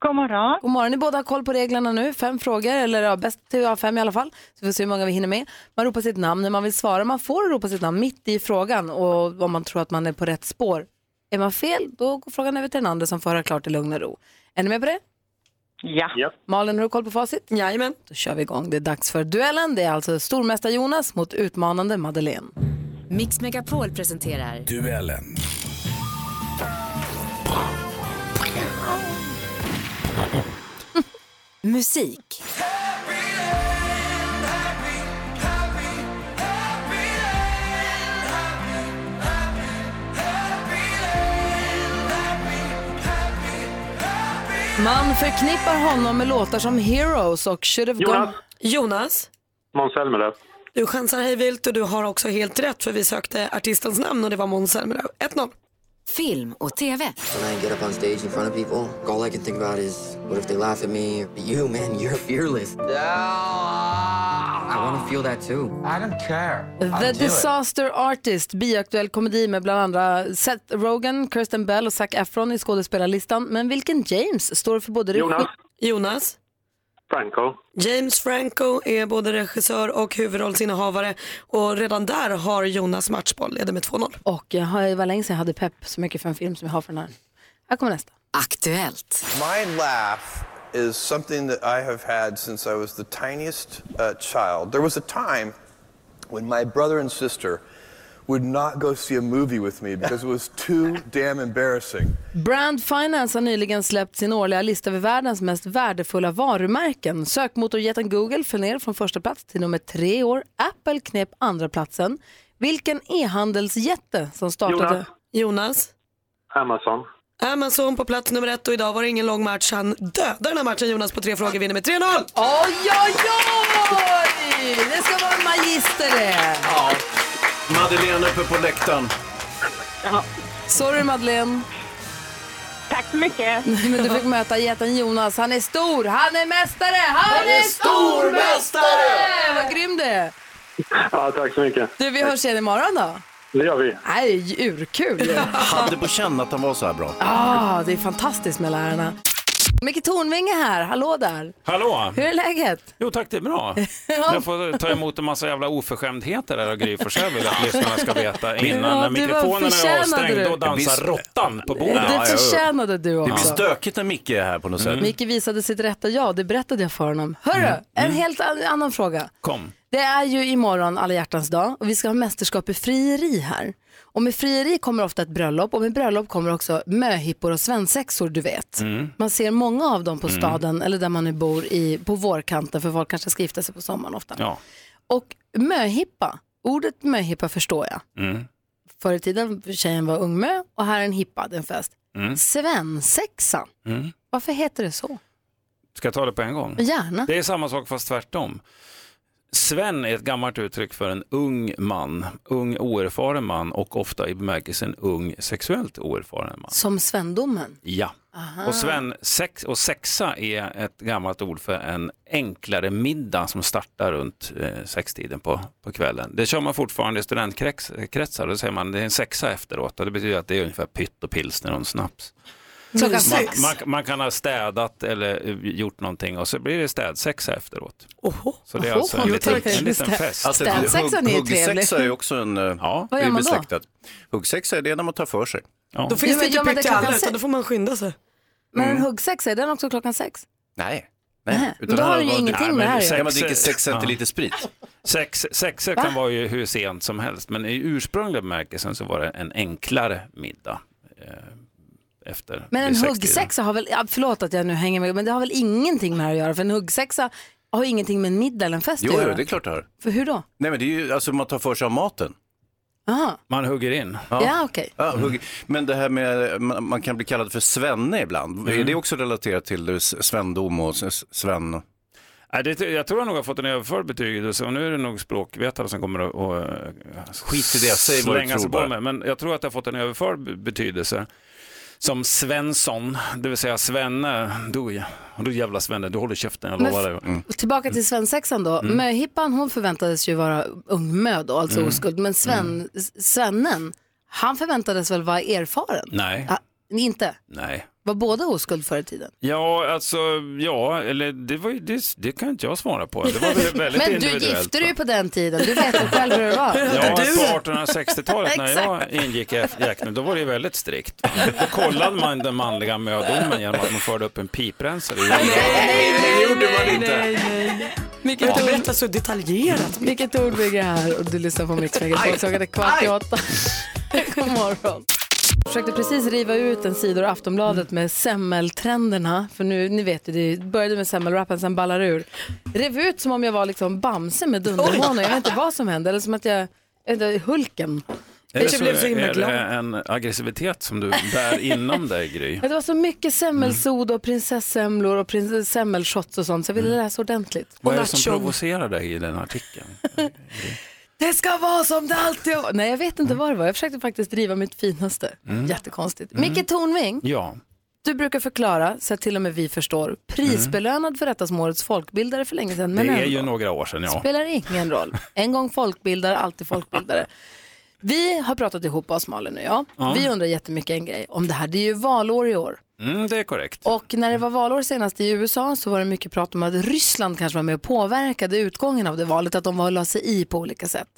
God morgon. God morgon. Ni båda har koll på reglerna nu. Fem frågor, eller ja, bäst till av fem i alla fall. Så vi får se hur många vi hinner med. Man ropar sitt namn när man vill svara. Man får ropa sitt namn mitt i frågan och om man tror att man är på rätt spår. Är man fel, då går frågan över till den andra som får höra klart i lugn och ro. Är ni med på det? Ja. Malin, har du koll på facit? Jajamän. Då kör vi igång. Det är dags för duellen. Det är alltså stormästare Jonas mot utmanande Madeleine. Mix Megapol presenterar Duellen. musik. Man förknippar honom med låtar som Heroes och Should have Jonas. gone... Jonas, Måns Zelmerlöw. du chansar hej vilt och du har också helt rätt för vi sökte artistens namn och det var Måns Zelmerlöw. 1-0. Film och TV. When I get up on stage in front of people, all I can think about is, what if they laugh at me? But you, man, you're fearless. I want to feel that too. I don't care. The Disaster Artist, biaktuell komedi med bland andra Seth Rogen, Kirsten Bell och Zac Efron i skådespelarlistan. Men vilken James står för både regi- Jonas. Jonas. Franco. James Franco är både regissör och huvudrollsinnehavare och redan där har Jonas matchboll, leder med 2-0. Och jag har, det var länge sedan jag hade pepp så mycket för en film som jag har för den här. Här kommer nästa. Aktuellt. My laugh is something that I have had since I was the tiniest uh, child. There was a time when my brother and sister would not go see a movie with me because it was too damn embarrassing. Brand Finance har nyligen släppt sin årliga lista över världens mest värdefulla varumärken. Sökmotorjätten Google föll ner från första plats till nummer tre i år. Apple knep andra platsen. Vilken e-handelsjätte som startade... Jonas. Jonas. Amazon. Amazon på plats nummer ett och idag var det ingen lång match. Han dödar den här matchen Jonas på tre frågor, vinner med 3-0. Oj, oj, oj! Det ska vara en magister det. Ja. Madeleine uppe på läktaren. Sorry Madeleine. Tack så mycket. Men du fick möta jätten Jonas. Han är stor, han är mästare, han, Han är stormästare! Vad grym du är. Ja, tack så mycket. Du, vi hörs igen imorgon då. Det gör vi. Det här är ju urkul ju. Hade på känn att han var så här bra. Ah, det är fantastiskt med lärarna. Micke Tornvinge här, hallå där. Hallå! Hur är läget? Jo tack, det är bra. Jag får ta emot en massa jävla oförskämdheter här av Gry Forssell vill jag att lyssnarna ska veta innan. Ja, när det var- mikrofonen är förtjänade avstängd, du. då Det dansar blir- råttan på bordet. Det förtjänade du Det blir också. stökigt när Micke är här på något sätt. Micke visade sitt rätta ja, det berättade jag för honom. Hörru, Mm. en helt an- annan fråga. Kom. Det är ju imorgon alla hjärtans dag och vi ska ha mästerskap i frieri här. Och med frieri kommer ofta ett bröllop och med bröllop kommer också möhippor och svensexor du vet. Mm. Man ser många av dem på Mm. staden eller där man nu bor i, på vårkanten för folk kanske ska gifta sig på sommaren ofta. Ja. Och möhippa, ordet möhippa förstår jag. Mm. Förr i tiden tjejen var ungmö och här är en hippa, det är en fest. Svensexa, Mm. varför heter det så? Ska jag ta det på en gång? Gärna. Det är samma sak fast tvärtom. Sven är ett gammalt uttryck för en ung man, ung oerfaren man och ofta i bemärkelsen ung sexuellt oerfaren man. Som svendomen. Ja. Aha. Och Sven, sex, och sexa är ett gammalt ord för en enklare middag som startar runt eh, sextiden på, på kvällen. Det kör man fortfarande i studentkretsar, då säger man det är en sexa efteråt och det betyder att det är ungefär pytt och pilsner och en snaps. Klockan Man, sex. man, man kan ha städat eller eh, gjort någonting och så blir det städsexa efteråt. Oho. Så det är Oho. alltså en Jo, liten, tack. en liten fest. Alltså, Städsexan är ju hugg- huggsexa trevlig. eh, är ju också en... Ja, Vad gör man då? Huggsexa är det när man tar för sig. Då finns Jo, det men inte gör man pytt det till alla klockan utan sex? då får man skynda sig. Men Mm. en huggsexa, är den också klockan sex? Nej. Nej, men då har den ju ingenting med det här att göra. Ja, man dricker sex centiliter sprit. Sex, sexa Va? kan vara ju hur sent som helst, men i ursprungliga bemärkelsen så var det en enklare middag. Eh, efter Men en vid sextiden. huggsexa har väl, ja, förlåt att jag nu hänger med, men det har väl ingenting med det här att göra? För en huggsexa har ju ingenting med en middag eller en fest Jo, att jo, göra. det är klart det har. För hur då? Nej, men det är ju, alltså man tar för sig av maten. Aha. Man hugger in. Ja, okej. Ja, hugg- Men det här med, man man kan bli kallad för svenne ibland. Mm. Är det också relaterat till eh, s- svendom och s- s- sven? Nej, det, jag tror jag nog har fått en överförd betydelse och nu är det nog språkvetare som kommer att och, Skit i det, säg vad du slänga sig tror på mig. bara. Men jag tror att det har fått en överförd be- betydelse. Som Svensson, det vill säga Svenne, du, du jävla Svenne, du håller käften, jag Men lovar dig. f- Mm. Tillbaka till svensexan då. Mm. Möhippan hon förväntades ju vara ungmö då, alltså Mm. oskuld. Men Sven, S- svennen, han förväntades väl vara erfaren? Nej, Ah, inte? nej. Var båda oskuld förr i tiden? Ja, alltså, ja, eller det, var, ju- det, det kan inte jag svara på. Det var väl väldigt Men du individuellt. gifte va? dig ju på den tiden, du vet ju själv hur det var. Ja, på 1860-talet när jag Exakt. ingick i F- Jäkne, då var det ju väldigt strikt. Då kollade man den manliga mödomen genom att man förde upp en piprensare. i nej, gjorde man nej, inte. nej, nej. Vilket Ja. ord berättar så detaljerat. Vilket ord bygger här och du lyssnar på Mix Megapol. Klockan är kvart i åtta. God morgon. Jag försökte precis riva ut en sida ur Aftonbladet med semmeltrenderna. För nu, ni vet ju, det började med semmelwrappen, sen ballar det ur. Rev ut som om jag var liksom Bamse med dunderhonor. Jag vet inte vad som hände. Eller som att jag, jag vet inte, Hulken. Eller så är det en aggressivitet som du bär inom dig, Gry. Mm. Ja, Det var så mycket semmelsoda och prinsessemlor och prins- semmelshots och sånt så jag ville läsa ordentligt. Mm. Vad är det som provocerar dig i den artikeln? Det ska vara som det alltid har varit. Nej, jag vet inte vad det var. Jag försökte faktiskt driva mitt finaste. Mm. Jättekonstigt. Mm. Micke Tornving, Ja. du brukar förklara så att till och med vi förstår. Prisbelönad för detta som årets folkbildare för länge sedan. Men det är ändå. ju några år sedan, ja. Spelar ingen roll. En gång folkbildare, alltid folkbildare. Vi har pratat ihop oss, Malin och jag. Ja. Vi undrar jättemycket en grej om det här. Det är ju valår i år. Mm, det är korrekt. Och när det var valår senast i USA så var det mycket prat om att Ryssland kanske var med och påverkade utgången av det valet, att de var och la sig i på olika sätt.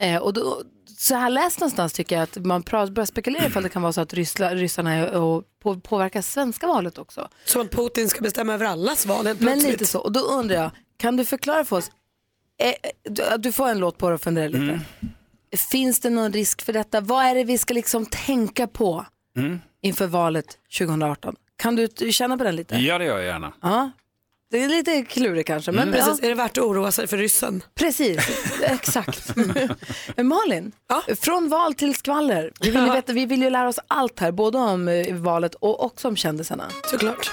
Eh, och då, så här läst någonstans tycker jag att man pra- börjar spekulera ifall det kan vara så att ryssla, ryssarna är och på, påverkar svenska valet också. Som att Putin ska bestämma över allas val helt Men plötsligt. lite så, och då undrar jag, kan du förklara för oss, eh, eh, du, du får en låt på dig att fundera lite. Mm. Finns det någon risk för detta? Vad är det vi ska liksom tänka på Mm. inför valet 2018? Kan du t- känna på den lite? Ja, det gör jag gärna. Ja, det är lite klurigt kanske. Men Mm. Precis, är det värt att oroa sig för ryssen? Precis, exakt. Men Malin, från val till skvaller. Vi vill, ju veta, vi vill ju lära oss allt här, både om eh, valet och också om kändisarna. Såklart.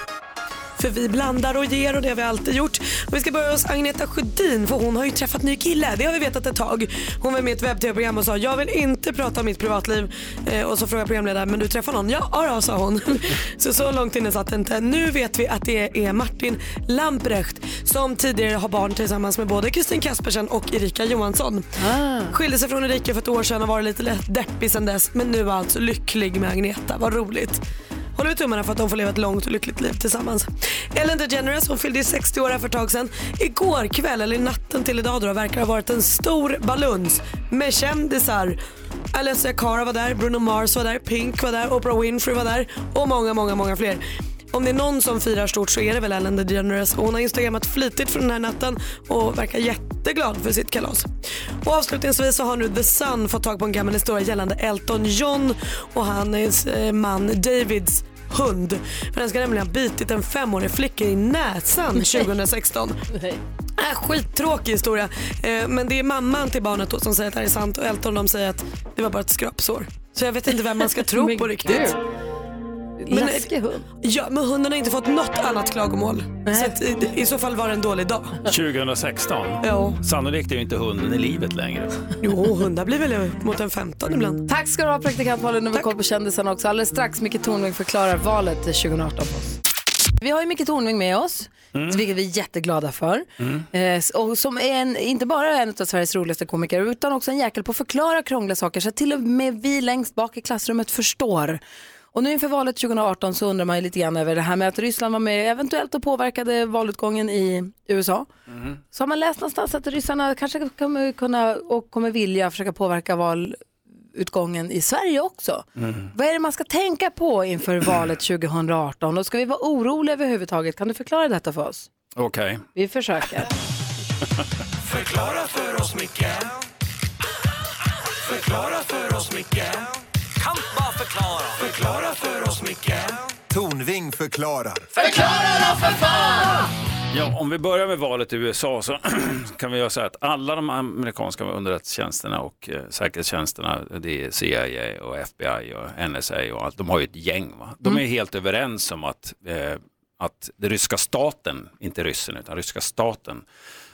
För vi blandar och ger och det har vi alltid gjort. Och vi ska börja hos Agneta Sjödin för hon har ju träffat ny kille. Det har vi vetat ett tag. Hon var med i ett webb-tv-program och sa jag vill inte prata om mitt privatliv. Eh, och så frågade programledaren men du träffar någon? Ja, ja då, sa hon. så så långt inne satt det inte. Nu vet vi att det är Martin Lamprecht som tidigare har barn tillsammans med både Kristin Kaspersen och Erika Johansson. Skilde sig från Erika för ett år sedan och varit lite lätt deppig sedan dess men nu är alltså lycklig med Agneta. Vad roligt. Håller vi tummarna för att de får leva ett långt och lyckligt liv tillsammans. Ellen DeGeneres hon fyllde ju 60 år här för ett tag sedan. Igår kväll, eller natten till idag då, verkar ha varit en stor baluns med kändisar. Alessia Cara var där, Bruno Mars var där, Pink var där, Oprah Winfrey var där och många, många, många fler. Om det är någon som firar stort så är det väl Ellen DeGeneres och hon har instagrammat flitigt från den här natten och verkar jätteglad för sitt kalas. Och avslutningsvis så har nu The Sun fått tag på en gammal historia gällande Elton John och hans eh, man Davids hund. För den ska nämligen ha bitit en femårig flicka i näsan 2016. Äh, skittråkig historia. Eh, men det är mamman till barnet då som säger att det här är sant och Elton de säger att det var bara ett skrapsår. Så jag vet inte vem man ska tro Men på riktigt. Men- eh, Läskig hund. Ja, men hunden har inte fått något annat klagomål. Så att, i, i så fall var det en dålig dag. 2016? Ja. Sannolikt är ju inte hunden i livet längre. Jo, hundar blir väl mot en 15 ibland. Tack ska du ha praktikant Malin och vi koll på kändisarna också. Alldeles strax Micke Tornving förklarar valet 2018 för oss. Vi har ju Micke Tornving med oss, Mm. vilket vi är jätteglada för. Mm. Eh, och som är en, inte bara en av Sveriges roligaste komiker utan också en jäkel på att förklara krångliga saker så att till och med vi längst bak i klassrummet förstår. Och nu inför valet 2018 så undrar man ju lite grann över det här med att Ryssland var med eventuellt och påverkade valutgången i USA. Mm. Så har man läst någonstans att ryssarna kanske kommer kunna och kommer vilja försöka påverka val valutgången i Sverige också. Mm. Vad är det man ska tänka på inför valet 2018? Och ska vi vara oroliga överhuvudtaget? Kan du förklara detta för oss? Okej. Vi försöker. Förklara för oss, Micke Förklara för oss, Micke Kan bara förklara Förklara för oss, Micke Tornving förklarar. Förklara då, för fan! Ja, om vi börjar med valet i USA så kan vi göra så här att alla de amerikanska underrättelsetjänsterna och eh, säkerhetstjänsterna, det är CIA och FBI och NSA och allt, de har ju ett gäng. Va? De är helt överens om att, eh, att den ryska staten, inte ryssen utan ryska staten,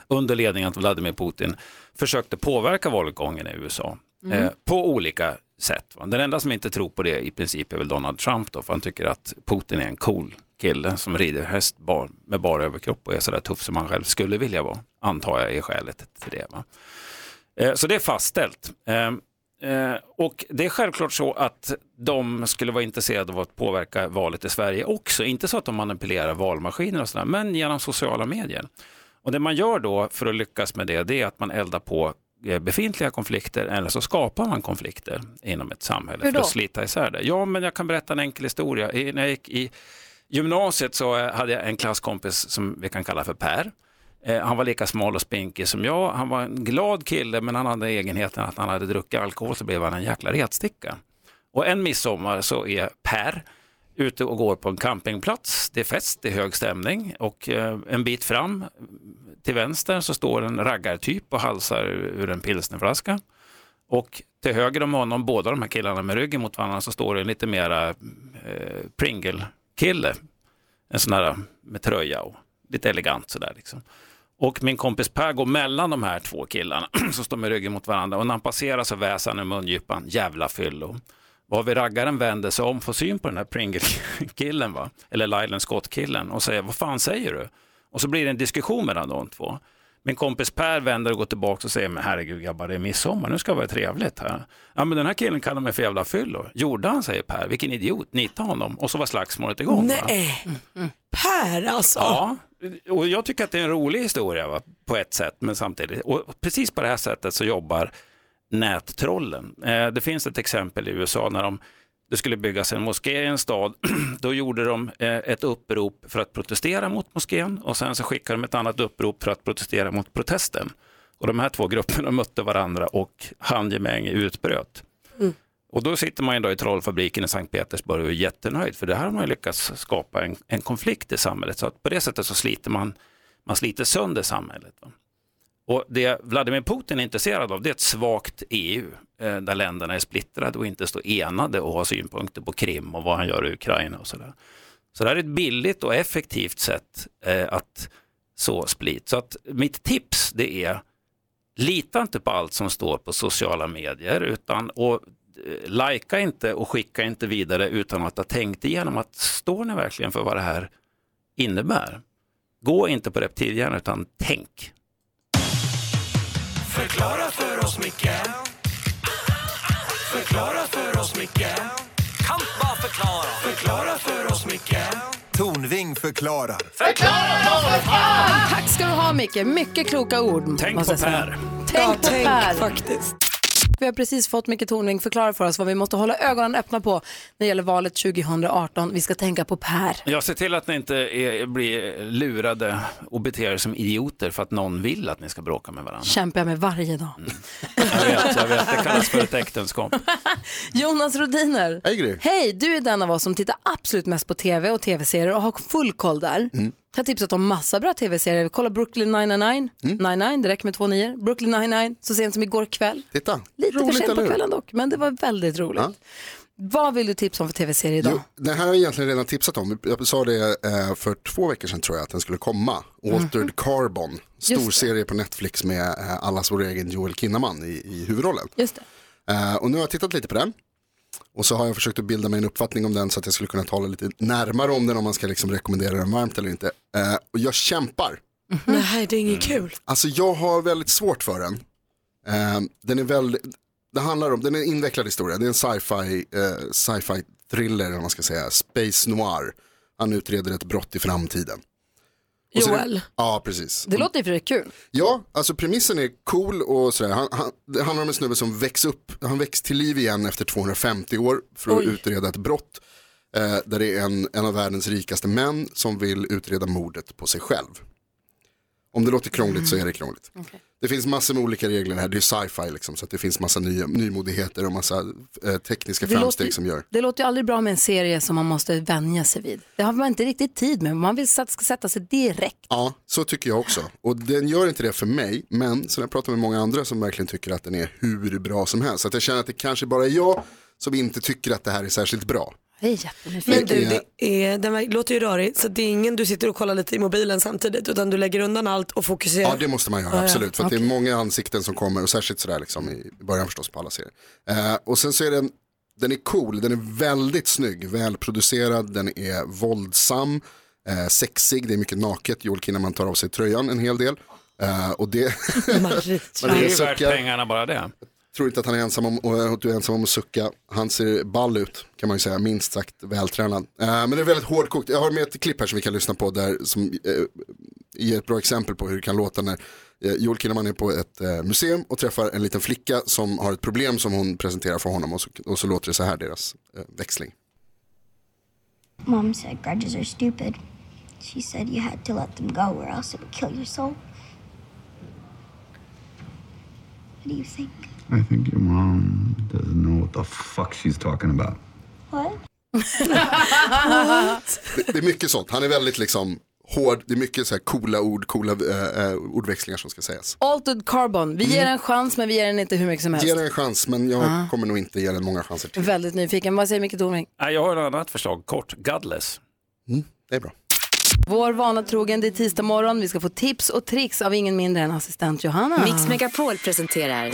under ledning av Vladimir Putin försökte påverka valutgången i USA Mm. eh, på olika sätt. Va? Den enda som inte tror på det i princip är väl Donald Trump då, för han tycker att Putin är en cool kille som rider häst bar, med bara överkropp och är sådär tuff som han själv skulle vilja vara, antar jag är skälet till det. Va? Eh, Så det är fastställt. Eh, eh, Och det är självklart så att de skulle vara intresserade av att påverka valet i Sverige också. Inte så att de manipulerar valmaskiner och sådär, men genom sociala medier. Och det man gör då för att lyckas med det, det är att man eldar på eh, befintliga konflikter eller så skapar man konflikter inom ett samhälle Hur för att då? slita isär det. Ja, men jag kan berätta en enkel historia. I, när jag gick i gymnasiet så eh, hade jag en klasskompis som vi kan kalla för Per. Eh, Han var lika smal och spinkig som jag. Han var en glad kille, men han hade egenheten att han hade druckit alkohol så blev han en jäkla retsticka. Och en midsommar så är Per ute och går på en campingplats. Det är fest, det är hög stämning och eh, en bit fram till vänster så står en raggartyp och halsar ur en pilsnerflaska. Och till höger om honom, båda de här killarna med ryggen mot varandra, så står det en lite mera eh, Pringle-kille. En sån här eh, med tröja och lite elegant sådär liksom. Och min kompis Per går mellan de här två killarna som står med ryggen mot varandra och när han passerar så väser han i mungipan, jävla fyllo. Varvid raggaren vänder sig om, får syn på den här Pringle-killen, va? eller Lyland Scott-killen och säger, vad fan säger du? Och så blir det en diskussion mellan de två. Min kompis Per vänder och går tillbaka och säger, men herregud grabbar, det är midsommar, nu ska det vara trevligt här. Ja, men den här killen kallar mig för jävla fyllo. Gjorde han, säger Per, vilken idiot, nita honom. Och så var slagsmålet igång. Va? Nej, Eh, Per alltså. Ja, och jag tycker att det är en rolig historia va? på ett sätt, men samtidigt. Och precis på det här sättet så jobbar nättrollen. Eh, det finns ett exempel i USA när de, det skulle byggas en moské i en stad. Då gjorde de eh, ett upprop för att protestera mot moskén och sen så skickade de ett annat upprop för att protestera mot protesten. Och de här två grupperna mötte varandra och handgemäng utbröt. Och då sitter man ju då i trollfabriken i Sankt Petersburg och är jättenöjd för det här har man ju lyckats skapa en, en konflikt i samhället. Så att på det sättet så sliter man, man sliter sönder samhället. Va? Och det Vladimir Putin är intresserad av det är ett svagt EU eh, där länderna är splittrade och inte står enade och har synpunkter på Krim och vad han gör i Ukraina och sådär. Så det här är ett billigt och effektivt sätt eh, att så split. Så att mitt tips det är lita inte på allt som står på sociala medier utan och eh, Lajka inte och skicka inte vidare utan att ha tänkt igenom att står ni verkligen för vad det här innebär? Gå inte på reptilhjärnan utan tänk. Förklara för oss, Micke Förklara för oss, Micke Kan bara förklara Förklara för oss, Micke Tornving förklarar. Förklara då, för fan! Tack ska du ha Micke, mycket kloka ord. Tänk måste på jag säga. Per. Tänk Ja, på tänk Per. faktiskt. Vi har precis fått Micke Tornving förklara för oss vad vi måste hålla ögonen öppna på när det gäller valet 2018. Vi ska tänka på Per. Jag ser till att ni inte är, blir lurade och beter er som idioter för att någon vill att ni ska bråka med varandra. Kämpar jag med varje dag. Mm. Jag vet, jag vet det kallas för ett äktenskap. Jonas Rodiner. Hej, Gry. Hej, du är den av oss som tittar absolut mest på tv och tv-serier och har full koll där. Mm. Jag har tipsat om massa bra tv-serier. Kolla Brooklyn 99, Mm. 99, det räcker med två nior. Brooklyn 99, så sent som igår kväll. Titta. Lite för Roligt, sent eller på hur? kvällen dock, men det var väldigt roligt. Ja. Vad vill du tipsa om för tv-serie idag? Jo, den här har jag egentligen redan tipsat om. Jag sa det eh, för två veckor sedan tror jag att den skulle komma. Altered Carbon, stor serie på Netflix med eh, allas vår egen Joel Kinnaman i, i huvudrollen. Just det. Eh, och nu har jag tittat lite på den. Och så har jag försökt att bilda mig en uppfattning om den så att jag skulle kunna tala lite närmare om den om man ska liksom rekommendera den varmt eller inte. Eh, och jag kämpar. Nej, det är inget kul. Alltså jag har väldigt svårt för den. Eh, den är väldigt, det handlar om, den är en invecklad historia, det är en sci-fi, eh, sci-fi thriller, om man ska säga, space noir. Han utreder ett brott i framtiden. Och så- Joel. Ja, precis. Det låter ju för det är kul. Ja, alltså premissen är cool och sådär. Han, han, det handlar om en snubbe som väcks upp, han väcks till liv igen efter 250 år för att Oj. utreda ett brott. Eh, där det är en, en av världens rikaste män som vill utreda mordet på sig själv. Om det låter krångligt så är det krångligt. Det finns massor med olika regler här, det är sci-fi liksom, så att det finns massa nya, nymodigheter och massa eh, tekniska Det framsteg låter- som gör. Det låter ju aldrig bra med en serie som man måste vänja sig vid. Det har man inte riktigt tid med. Man vill sätta, sätta sig direkt. Ja, så tycker jag också. Och den gör inte det för mig, men sen har jag pratat med många andra som verkligen tycker att den är hur bra som helst. Så att jag känner att det kanske bara är jag som inte tycker att det här är särskilt bra. Jag är jättenyfiken. Men Det du, är- det är, den verk- låter ju rörig så det är ingen du sitter och kollar lite i mobilen samtidigt utan du lägger undan allt och fokuserar. Ja, det måste man göra, Ja, ja. absolut. För att det Okej. är många ansikten som kommer, och särskilt sådär liksom i början förstås på alla serier. Eh, och sen så är den, den är cool, den är väldigt snygg, välproducerad, den är våldsam, eh, sexig, det är mycket naket, Joel Kinnaman tar av sig tröjan en hel del. Eh, och det... Det är ju värt suckar. pengarna bara det. tror inte att han är ensam om, och att du är ensam om att sucka. Han ser ball ut kan man ju säga, minst sagt vältränad. Eh, men det är väldigt hårdkokt. Jag har med ett klipp här som vi kan lyssna på där som eh, ger ett bra exempel på hur det kan låta när eh, Joel Kinnaman är på ett eh, museum och träffar en liten flicka som har ett problem som hon presenterar för honom och så, och så låter det så här deras eh, växling. Mom said grudges are stupid. She said you had to let them go or else it would kill your soul. What do you think? I think your mom doesn't know what the fuck she's talking about. What? Det, det är mycket sånt, han är väldigt liksom hård, det är mycket så här coola ord, coola eh, eh, ordväxlingar som ska sägas. Altered Carbon. Vi ger den en chans men vi ger den inte hur mycket som helst. Mm. Ge den en chans men jag Ah. kommer nog inte ge den många chanser till. Väldigt nyfiken. Vad säger Micke Tornving? Nej, Jag har ett annat förslag, kort, Godless. Det är bra. Vår vana trogen, det är tisdag morgon. Vi ska få tips och tricks av ingen mindre än assistent Johanna. Mix Megapol presenterar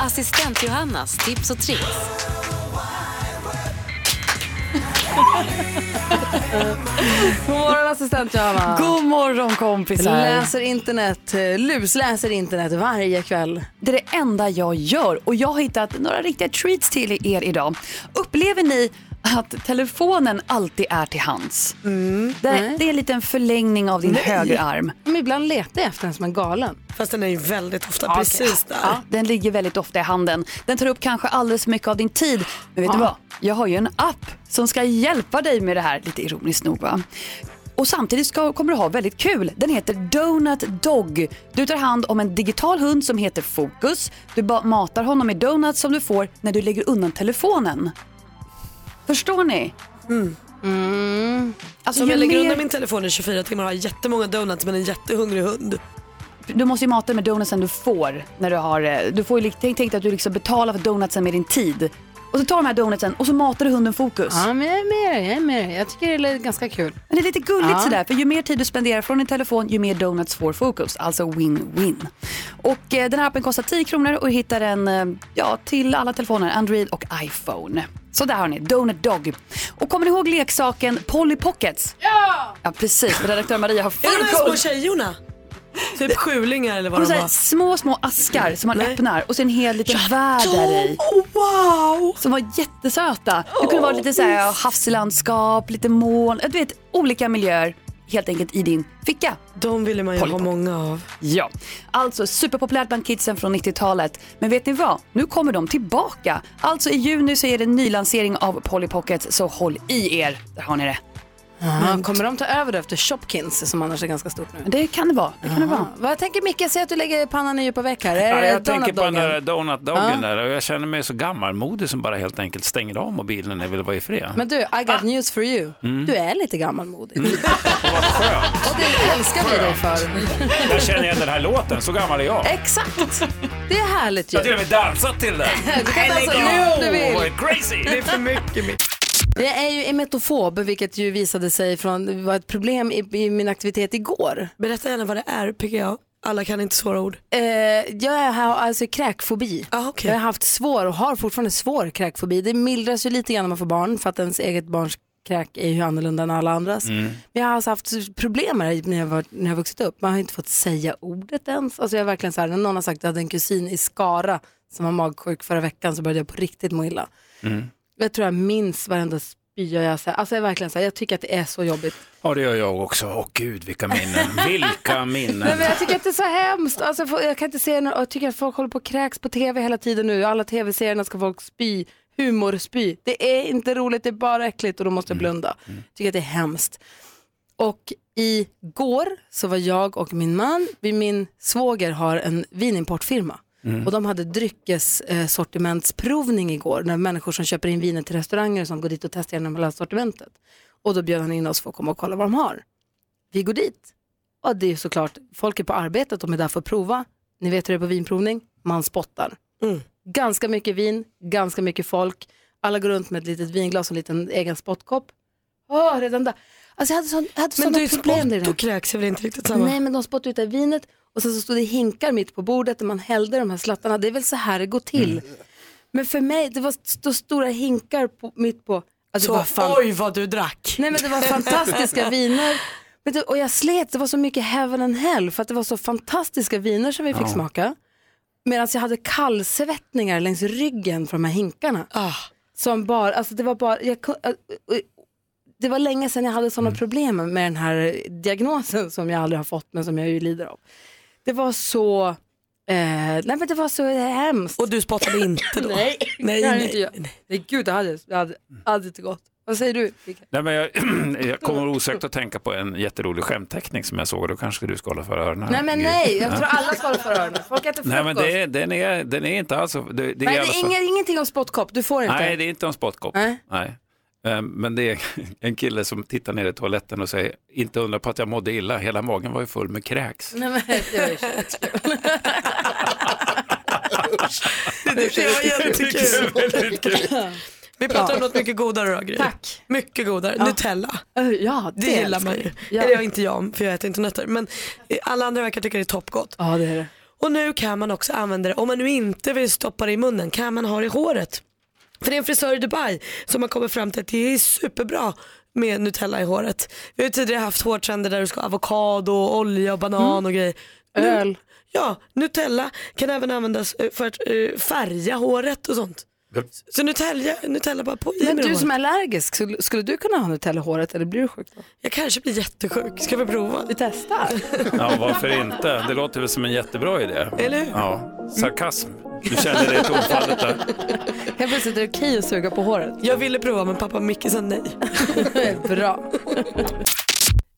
Assistent Johannas tips och tricks. God morgon assistent Johanna. God morgon kompisar. Läser internet, eh, lusläser internet varje kväll. Det är det enda jag gör och jag har hittat några riktiga treats till er idag. Upplever ni att telefonen alltid är till hands? Det, det är en liten förlängning av din Nej. högerarm. Men ibland letar jag efter den som en galen. Fast den är ju väldigt ofta Ja, precis okej. där. Ja, den ligger väldigt ofta i handen. Den tar upp kanske alldeles för mycket av din tid. Men vet du vad? Jag har ju en app som ska hjälpa dig med det här. Lite ironiskt nog va? Och samtidigt ska, kommer du ha väldigt kul. Den heter Donut Dog. Du tar hand om en digital hund som heter Fokus. Du ba- matar honom med donuts som du får när du lägger undan telefonen. Förstår ni? Alltså, Mm. Alltså, om ju jag lägger mer- undan min telefon i 24 timmar och har jättemånga donuts men en jättehungrig hund. Du måste ju mata den med donutsen du får. När du, har, eh, du får ju, li- tänk, tänk dig att du liksom betalar för donutsen med din tid. Och så tar du de här donutsen och så matar du hunden fokus. Ja, men jag är med dig, jag är med dig. Jag tycker det är ganska kul. Men det är lite gulligt Ja. sådär, för ju mer tid du spenderar från din telefon, ju mer donuts får fokus. Alltså win-win. Och eh, den här appen kostar 10 kronor och hittar den eh, ja, till alla telefoner, Android och iPhone. Så där har ni, Donut Dog. Och kommer ni ihåg leksaken Polly Pockets? Ja! Ja, precis. Redaktör Maria har full Är det de här koll. små tjejorna? Typ sjulingar eller vad Och de så här, var. små, små askar som man öppnar och sen en hel liten värld de- där i. oh, wow! Som var jättesöta. Det kunde vara lite så här, havslandskap, lite moln, du vet olika miljöer helt enkelt i din ficka. De ville man ju ha många av. Ja, alltså superpopulärt bland kidsen från 90-talet. Men vet ni vad? Nu kommer de tillbaka. Alltså i juni så är det en nylansering av Polly Pockets, så håll i er. Där har ni det. Ja, kommer de ta över det efter Shopkins som annars är ganska stort nu? Det kan det vara. Det kan det vara. Ja. Vad jag tänker Micke, jag ser att du lägger pannan i djupa veck här. Är Ja, det jag tänker på den donutdoggen? där donutdagen Ja. där och jag känner mig så gammalmodig som bara helt enkelt stänger av mobilen när jag vill vara i fred. Men du, I got news for you. Mm. Du är lite gammalmodig. Skönt. Och det älskar vi dig för. Där känner jag den här låten, så gammal är jag. Exakt. Det är härligt ju. Jag har till och med dansat till den. Du kan dansa nu om du vill. Crazy! Det är för mycket mitt. Jag är ju emetofob, vilket ju visade sig från, var ett problem i, i min aktivitet igår. Berätta gärna vad det är, PGA. Alla kan inte svåra ord. Ah, Eh, jag har alltså kräkfobi. okej. Jag har haft svår och har fortfarande svår kräkfobi. Det mildras ju lite grann när man får barn för att ens eget barns kräk är ju annorlunda än alla andras. Mm. Men jag har alltså haft problem med det när jag, var, när jag vuxit upp. Man har inte fått säga ordet ens. Alltså jag är verkligen så här, när någon har sagt att jag hade en kusin i Skara som var magsjuk förra veckan så började jag på riktigt må illa. Mm. Jag tror jag minns varenda spyr jag. Så här. Alltså jag, är verkligen, så här, jag tycker att det är så jobbigt. Ja, det gör jag också. Åh gud, vilka minnen. Vilka Nej, minnen. men jag tycker att det är så hemskt. Alltså, jag får- jag kan inte se några, och jag tycker att folk håller på och kräks på tv hela tiden nu. Alla tv-serierna ska folk spy, humorspy. Det är inte roligt, det är bara äckligt och då måste jag blunda. Tycker att det är hemskt. Och igår så var jag och min man, vi- min svåger har en vinimportfirma. Mm. Och de hade dryckessortimentsprovning igår, när människor som köper in viner till restauranger som går dit och testar igenom hela sortimentet. Och då bjöd han in oss för att komma och kolla vad de har. Vi går dit. Och det är såklart, folk är på arbetet, de är där för att prova. Ni vet hur det är på vinprovning, man spottar. Mm. Ganska mycket vin, ganska mycket folk. Alla går runt med ett litet vinglas och en liten egen spottkopp. Åh, redan där. Alltså jag hade, sån, jag hade Men sådana du, problem med det. spott och kräks är väl inte riktigt samma? Nej, men de spottade ut det här vinet och sen så stod det hinkar mitt på bordet där man hällde de här slattarna. Det är väl så här det går till. Mm. Men för mig, det var st- stora hinkar på, mitt på. Ja, det Så, var fan- oj vad du drack. Nej men det var fantastiska viner. Men det, och jag slet, det var så mycket heaven and hell för att det var så fantastiska viner som vi fick Ja. smaka. Medan jag hade kallsvettningar längs ryggen från de här hinkarna. Som bara, alltså det var bara, jag, ku- äh, äh, det var länge sedan jag hade sådana problem med den här diagnosen som jag aldrig har fått men som jag ju lider av. Det var så, eh, nej men det var så hemskt. Och du spottade inte då? nej, Nej, nej, nej, nej. nej, nej, gud det hade, det hade aldrig gått. Vad säger du? Micke? Nej, men jag, jag kommer osökt att tänka på en jätterolig skämtteckning som jag såg. Då kanske du ska hålla för öronen. Nej men Gry. nej, jag Ja. tror alla ska hålla för öronen. Folk äter frukost. Nej men det, den, är, den är inte alls... Det, det är i Nej, alla det är fall- ingen, ingenting om spottkopp, du får inte. Nej, det är inte en spottkopp. Nej. Eh, Men det är en kille som tittar ner i toaletten och säger, inte undra på att jag mådde illa, hela magen var ju full med kräks. Nej, men, det var ju Det tycker jag var jättekul. Vi pratar om något mycket godare då, Gry. Tack. Mycket godare. Nutella. Ja, det det, gillar älskar man ju. jag. Ja. Eller jag inte jag, för jag äter inte nötter. Men eh, alla andra verkar tycka det är toppgott. Ja, det är det. Och nu kan man också använda det, om man nu inte vill stoppa det i munnen, kan man ha det i håret. För det är en frisör i Dubai som har kommit fram till att det är superbra med Nutella i håret. Vi har ju tidigare haft hårtrender där du ska ha avokado, olja och banan Mm. och grejer. Öl. ja, Nutella kan även användas eh, för att eh, färga håret och sånt. Så Nutella, Nutella bara på i Men med du håret. som är allergisk, skulle, skulle du kunna ha Nutella i håret eller blir du sjuk då? Jag kanske blir jättesjuk, ska vi prova? Vi testar. Ja, varför inte? Det låter väl som en jättebra idé. Eller hur? Ja, sarkasm. Du kände det i tonfallet där. Helt plötsligt är det okej att suga på håret. Jag ville prova men pappa Micke sa nej. Bra.